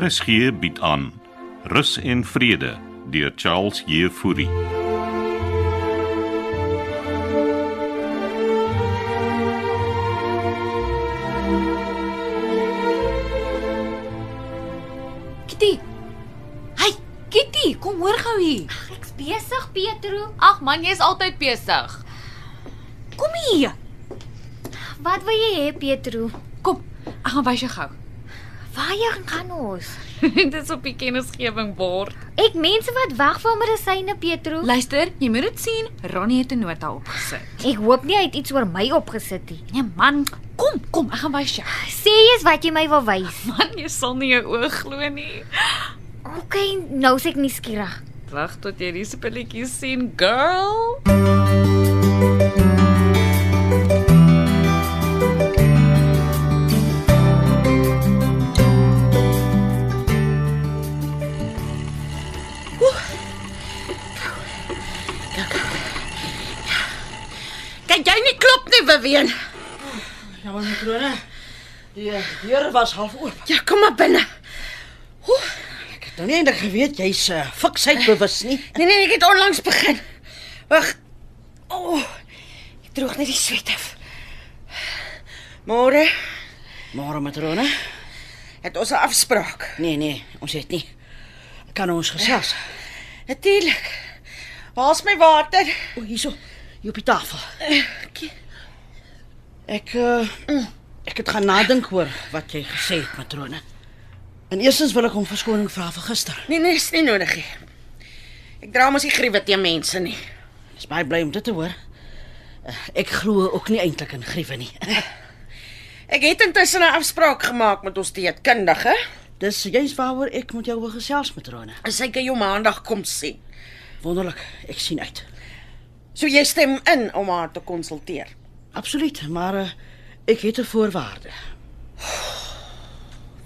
RSG bied aan Rus en Vrede deur Charles Jefouri. Kitty. Hey, Kitty, kom hoor gou hier. Ek's besig, Petro. Ag man, jy's altyd besig. Kom hier. Wat wil jy hê, Petro? Kom. Ek gaan wys jou gou. Waarheen gaan ons? Dit is op die kennisgewing bord. Ek mense wat wag vir medisyne, Petro. Luister, jy moet dit sien. Ronnie het 'n nota opgesit. Ek hoop nie hy het iets oor my opgesit nie. Nee man, kom, kom, ek gaan wys jou. Sê eers wat jy my wil wys. Man, jy sal nie jou oog glo nie. OK, nou is ek nie skieurig. Wag tot jy die spulletjies sien, girl. Ja. Kan jy nie klop nie, Beween? Jammer my krone. Die deur was half oop. Ja, kom maar binne. Ek het nou nie eintlik geweet jy's uh, fiksheid bewus nie. Nee nee, ek het onlangs begin. Wag. O. Oh, ek droog net die sweet af. Môre Môre my krone. het ons 'n afspraak. Nee nee, ons het nie. Kan ons Ja. gesels? Natuurlik. Waar's my water? O, hierso, hier op die tafel. Ek- Ek uh, ek het gaan nadink oor wat jy gesê het, my krone. En eerstens wil ek hom verskoning vra vir gister. Nee nee, is nie nodig nie. Ek dra mos nie griewe teen mense nie. Ek is baie bly om dit te hoor. Uh, ek glo ook nie eintlik in griewe nie. Ek het intussen 'n afspraak gemaak met ons teetkundige. Dis juist waaroor ek met jou wil gesels, my krone. Sy kan jou maandag kom sien. Wonderlik, ek sien uit. So jy stem in om haar te konsulteer. Absoluut, maar uh, ek het 'n voorwaarde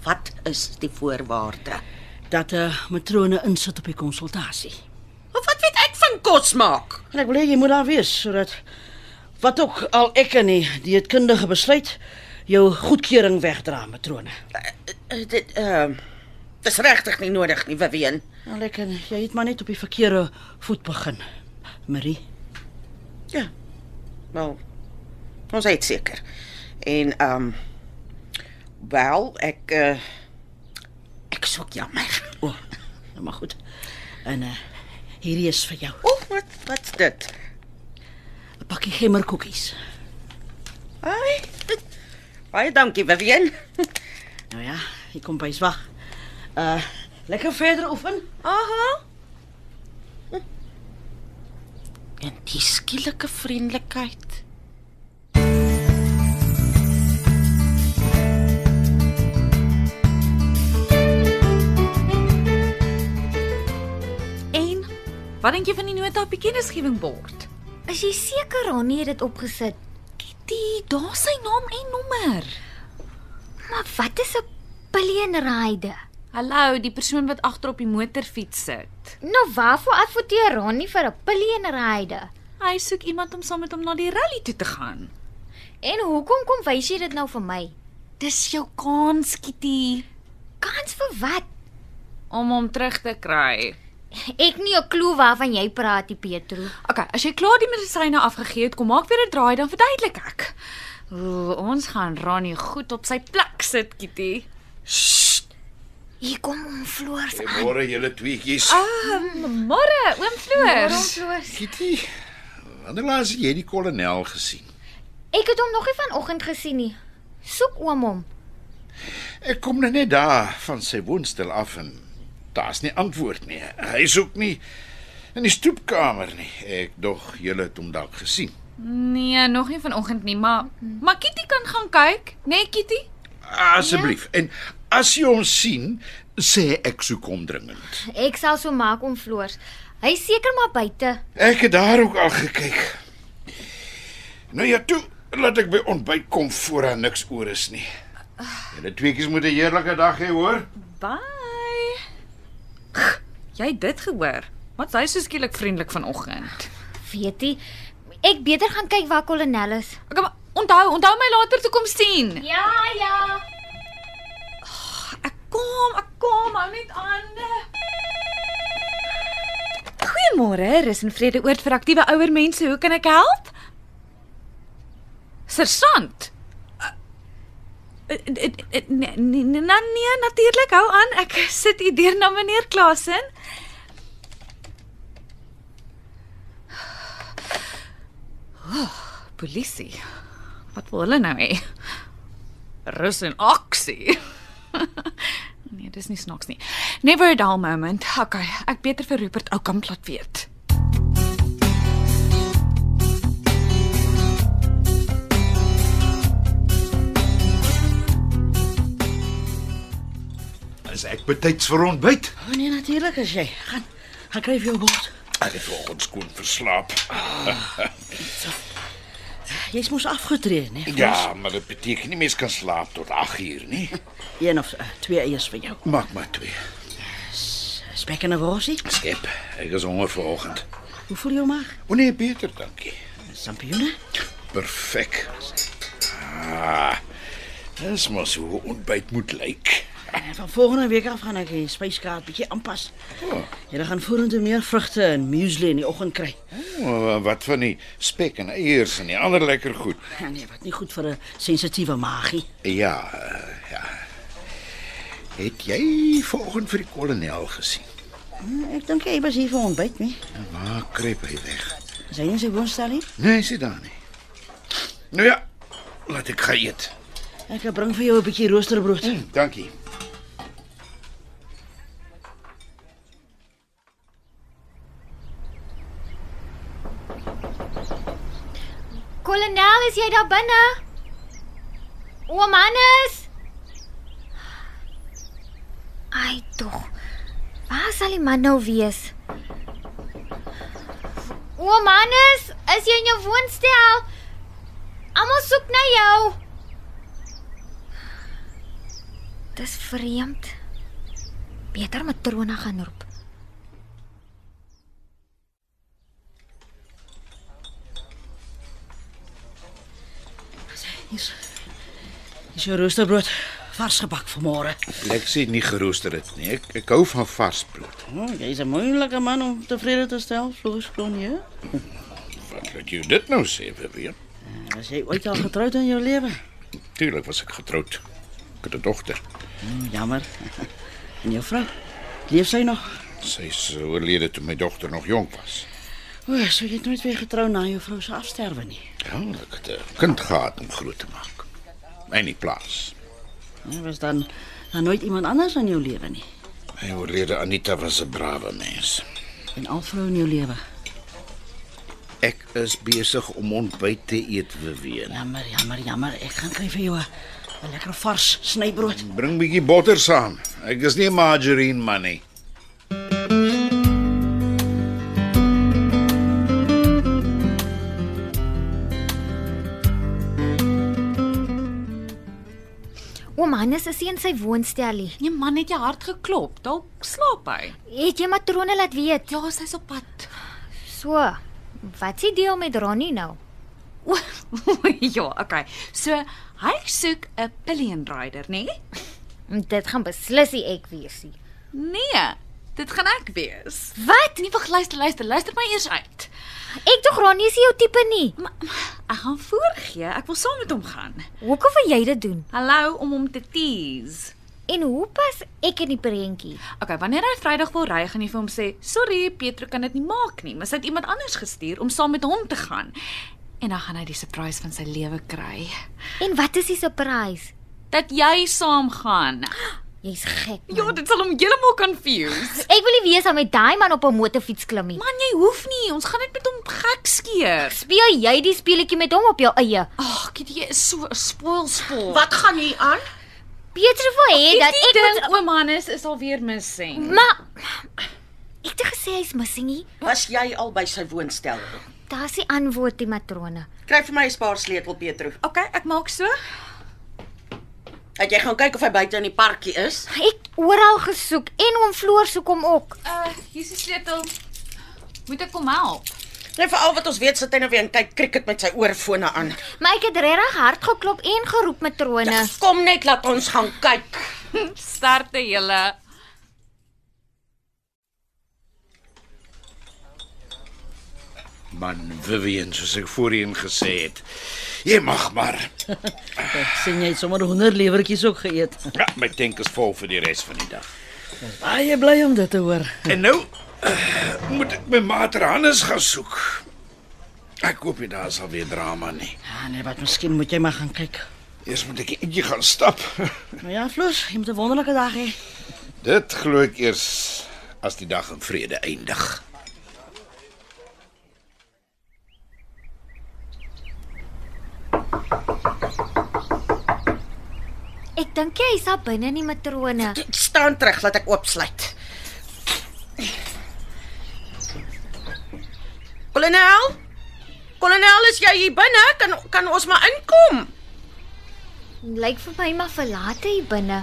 Wat is die voorwaarde? dat 'n uh, matrone insit op die konsultasie. Of wat weet ek van kos maak? En ek wil hê jy moet daar wees sodat wat ook al ek en die dieetkundige besluit jou goedkeuring wegdra, matrone. Uh, dit ehm uh, dis regtig nie nodig nie, Vivian. Nou lekker, jy het maar net op die verkeerde voet begin. Marie, Ja. Wel. Ons het seker. En ehm um, wel, ek uh, ek soek jammer. o, oh, nou maar goed. En uh, hierdie is vir jou. O, wat wat's dit? 'n Pakkie gemmerkoekies. Ai. Baie dankie, Vivian. Nou ja, ek kom bys wag. Uh, lekker verder oefen. Aha. En die skielike vriendelikheid. En wat dink jy van die nota op die kennisgewing bord? Is jy seker Ronnie het dit opgesit? Kitty, daar sy naam en nommer. Maar wat is 'n biljoenryde? Hallo, die persoon wat agter op die motorfiets sit. Nou waarvoor adverteer Ronnie vir 'n biljoenryde? Hy soek iemand om saam met hom na die rally toe te gaan. En hoekom kom wys jy dit nou vir my? Dis jou kans, Kitty, Kans vir wat? om hom terug te kry. Ek nie 'n klou waarvan jy praat, die Petro. OK, as jy klaar die medisyne afgegee het, kom maak weer 'n draai dan verduidelik ek. Ooh, ons gaan Ronnie goed op sy plek sit, Kitty. Hier kom hom floors aan. Môre julle tweeetjies. Ah. Ehm. Môre, oom Waarom Floors. floors? Kitty, wanneer laas het jy die kolonel gesien? Ek het hom nog nie vanoggend gesien nie. Soek oom hom. Ek kom nou net daar van sy woonstel af en daar's nie antwoord nie. Hy soek nie in die stoepkamer nie. Ek dog julle het hom dalk gesien. Nee, nog nie vanoggend nie, maar maar Kitty kan gaan kyk, né nee, Kitty? Asseblief. En as jy hom sien, sê ek soek hom dringend. Ek sal so maak om floors. Hy is seker maar buite. Ek het daar ook al gekyk. Nou ja, toe laat ek by ontbyt kom voor daar niks oor is nie. Julle tweeetjies moet 'n heerlike dag hê, hoor? Bye. Jy het dit gehoor. Wat hy so skielik vriendelik vanoggend. Weet jy, ek beter gaan kyk waar kolonel is. Ek onthou, onthou my later toe kom sien. Ja, ja. Ek kom, ek kom. hou net aan. Goeiemôre, Rus en Vrede oort vir aktiewe ouer mense. Hoe kan ek help? Sersant. Eh, eh, eh, Nee, nee, nee, nee natuurlik. Hou aan. Ek sit hier deur na meneer Klasen. Oh, polisie. Wat wil hulle nou hê? Rus en aksie. nee, dis nie snaaks nie. Never a dull moment. Okay, ek beter vir Rupert Oukamp laat weet. Is ek betyds vir ontbyt? Oh, nee, natuurlik as jy. Gaan gaan kry vir jou bord. Ek het vanoggend skoon verslaap. Jy's mos afgetree, né? Ja, maar dit beteken nie mens kan slaap tot 8 uur nie. Een of uh, twee eiers vir jou. Maak maar twee. Spek en 'n worsie. Skep. Ek is honger vanoggend. Hoe voel jou maag? O nee, Pieter, dankie. Sampioene? Perfek. Ah. Dis mos hoe ontbyt moet lyk. En van volgende week af gaan ek die spyskaart bietjie aanpas. Oh. Jy gaan vorentoe meer vrugte en muesli in die oggend kry. Oh, wat van die spek en eiers en die ander lekker goed. Ja, nee, wat nie goed vir 'n sensitiewe maagie. Ja, eh, ja. Het jy vanoggend vir die kolonel gesien? Hm, Ek dink hy was hier vir ontbyt, nie? Waar kruip hy weg? Is hy in sy woonstel nie? Nee, sit daar nie. Nou ja, laat ek gaan eet. Ek bring vir jou 'n bietjie roosterbrood. Dankie. Kolonel, is jy daar binne? Oom Hannes. Ai tog. Waar sal die man nou wees? Oom Hannes, is jy in jou woonstel? Almal soek na jou. Dis vreemd. Beter matrona gaan roep. Hier's Hier's jou roosterbrood vars gebak vanmôre. Ek sê nie gerooster dit nie. Ek, ek hou van vars brood. Oh, jy's 'n moeilike man om tevrede te stel, volgens Kronje. Wat laat jy dit nou sê, Vivian? Was jy ooit al getroud in jou lewe? Tuurlik was ek getroud. Ek het 'n dogter. Hm, Jammer. En jou vrou? Leef sy nog? Sy is oorlede toe my dogter nog jonk was. O, so jy het nooit weer getrou na jou vrou se afsterwe nie. Ja, ek het 'n kind gehad om groot te maak. En die plaas. Daar was dan dan nooit iemand anders in jou lewe nie. My oorlede Anita was 'n brawe mens. En al vrou in jou lewe. Ek is besig om ontbyt te eet, Vivian. Jammer, jammer, jammer. Ek gaan kry vir jou 'n 'n lekker vars snybrood. Bring bietjie botter saam. Ek is nie 'n margarine man nie. Oom Hannes is nie in sy woonstelie. Nee man, het jy hard geklop. Dalk slaap hy. Het jy matrone laat weet? Ja, sy's op pad. So, wat s'ie deel met Ronnie nou? O, ja, okay. So hy soek 'n pillion rider, nê? Nee? Dit gaan beslis nie ek wees nie. nee, dit gaan ek wees. Wat? Nee, wag, luister, luister, luister my eers uit. Ek tog Ronnie is nie jou tipe nie. Maar ek gaan voorgee, ek wil saam met hom gaan. Hoekom wil jy dit doen? Hallo om hom te tease. En hoe pas ek in die prentjie? Okay, wanneer hy Vrydag wil ry, gaan jy vir hom sê, "Sorry, Pietro kan dit nie maak nie, maar sy het iemand anders gestuur om saam met hom te gaan." En dan gaan hy die surprise van sy lewe kry. En wat is die surprise? Dat jy saam gaan. Jy's gek. Man. Ja, dit sal hom heeltemal confuse. Ek wil nie wees aan met daai man op 'n motorfiets klim nie. Man, jy hoef nie. Ons gaan net met hom gek skeer. Speel jy die speletjie met hom op jou eie? Ag, Kitty, jy is so 'n spoilsport. Wat gaan hier aan? Beter vir hê dat ek moet dink oom Hannes is alweer missing. maar ek het gesê hy's missing nie. Was jy al by sy woonstel? Daar's die antwoord die matrone. Kry vir my 'n spaarsleutel, Petro. Okay, ek maak so. Dat jy gaan kyk of hy buite in die parkie is. Ek oral gesoek en oom Floor soek hom ook. Uh, hier's die sleutel. Moet ek kom help? Net vir al wat ons weet sit hy nou weer en kyk cricket met sy oorfone aan. Maar ek het regtig hard geklop en Ja. Nee. geroep matrone. Kom net laat ons gaan kyk. Sterkte julle. Man, Vivian, soos ek voorheen gesê het. Jy mag maar. Ek sien jy het sommer honder lewertjies ook geëet. Ja, my tank is vol vir die res van die dag. Baie bly om dit te hoor. En nou eh, moet ek my mater Hannes gaan soek. Ek hoop nie daar sal weer drama nie. Ja, nee, wat miskien moet jy maar gaan kyk. Eers moet ek eentjie gaan stap. Nou ja, Floors, jy moet 'n wonderlike dag hê. Dit glo ek eers as die dag in vrede eindig. Ek dink jy is daar binne nie matrone. T- Staan terug laat ek oopsluit. Kolonel? Kolonel, is jy hier binne? Kan kan ons maar inkom? Lyk vir my maar verlate hier binne.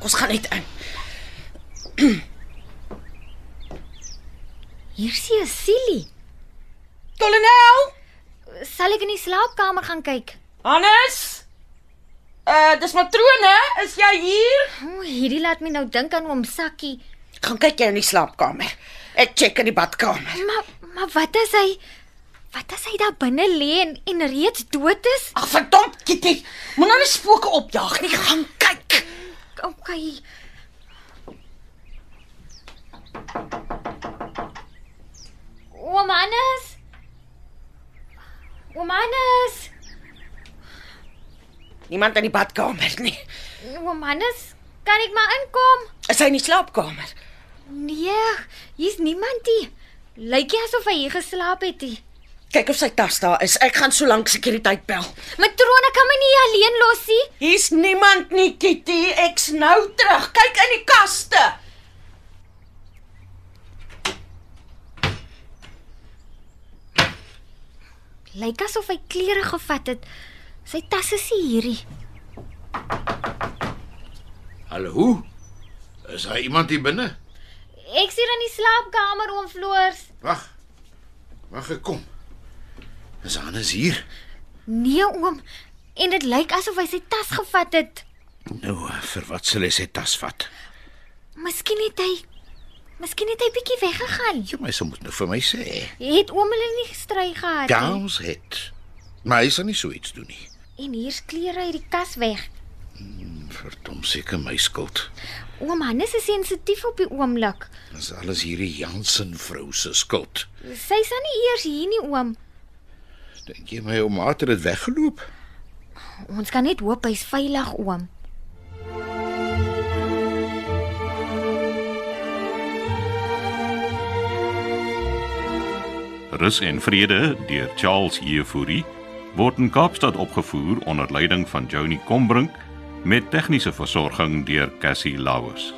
Ons gaan net in. Hier sien jy Silly. Kolonel? Sal ek in die slaapkamer gaan kyk? Hannes? Uh, dis matrone, is jy hier? O, hierdie laat my nou dink aan oom Sakkie. Gaan kyk jy in die slaapkamer. Ek check in die badkamer. Maar maar wat as hy wat as hy daar binne lê en, en reeds dood is? Ag verdomd, Kitty. Moenie nou spooke opjaag nie. Gaan kyk. OK. Oom Hannes. Oom Hannes. Niemand in die badkamer nie. Oom Hannes, kan ek maar inkom? Is hy in die slaapkamer? Nee, hier's niemand hier. Lyk jy asof hy hier geslaap het? Hier. Kyk of sy tas daar is. Ek gaan so lank sekuriteit bel. Matrone kan my nie hier alleen los nie. Hier's niemand nie, Kitty. Ek's nou terug. Kyk in die kaste. Lyk asof hy klere gevat het. Sy tas is nie hierdie. Hallo? Is daar iemand hier binne? Ek sien in die slaapkamer oom Floors. Wag. Wag, ek kom. Is Hannes hier? Nee oom, en dit lyk asof hy sy tas gevat het. Nou, vir wat sal hy sy tas vat? Miskien het hy Miskien het hy bietjie weggegaan. Jy my sou moet nou vir my sê. Het oom hulle nie gestry gehad Ja, ons het. Maar hy sal nie so iets doen nie. En hier's klere uit die kas weg. Verdom seker my skuld. Oom Hannes is sensitief op die oomblik. Dis alles hierdie Jansen vrou se skuld. Sy staan nie eers hier nie oom. Dink jy my ouma het dit weggeloop? Ons kan net hoop hy's veilig oom. Rus en Vrede deur Charles Jefouri word in Kaapstad opgevoer onder leiding van Johnny Combrink met tegniese versorging deur Cassie Lauers.